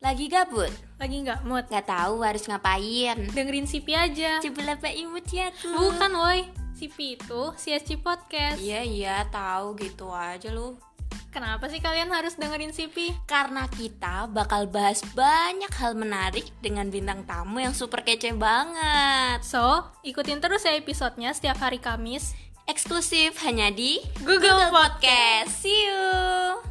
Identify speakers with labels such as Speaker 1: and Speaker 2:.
Speaker 1: Lagi gabut?
Speaker 2: Lagi nggak mood?
Speaker 1: Gak tahu harus ngapain
Speaker 2: Dengerin Sipi aja.
Speaker 1: Coba lepa imut ya aku
Speaker 2: Bukan woi, Sipi itu CSC Podcast.
Speaker 1: Iya iya tahu gitu aja lu
Speaker 2: Kenapa sih kalian harus dengerin Sipi?
Speaker 1: Karena kita bakal bahas banyak hal menarik dengan bintang tamu yang super kece banget
Speaker 2: So, ikutin terus ya episodenya setiap hari Kamis.
Speaker 1: Eksklusif hanya di
Speaker 2: Google Podcast.
Speaker 1: Podcast See you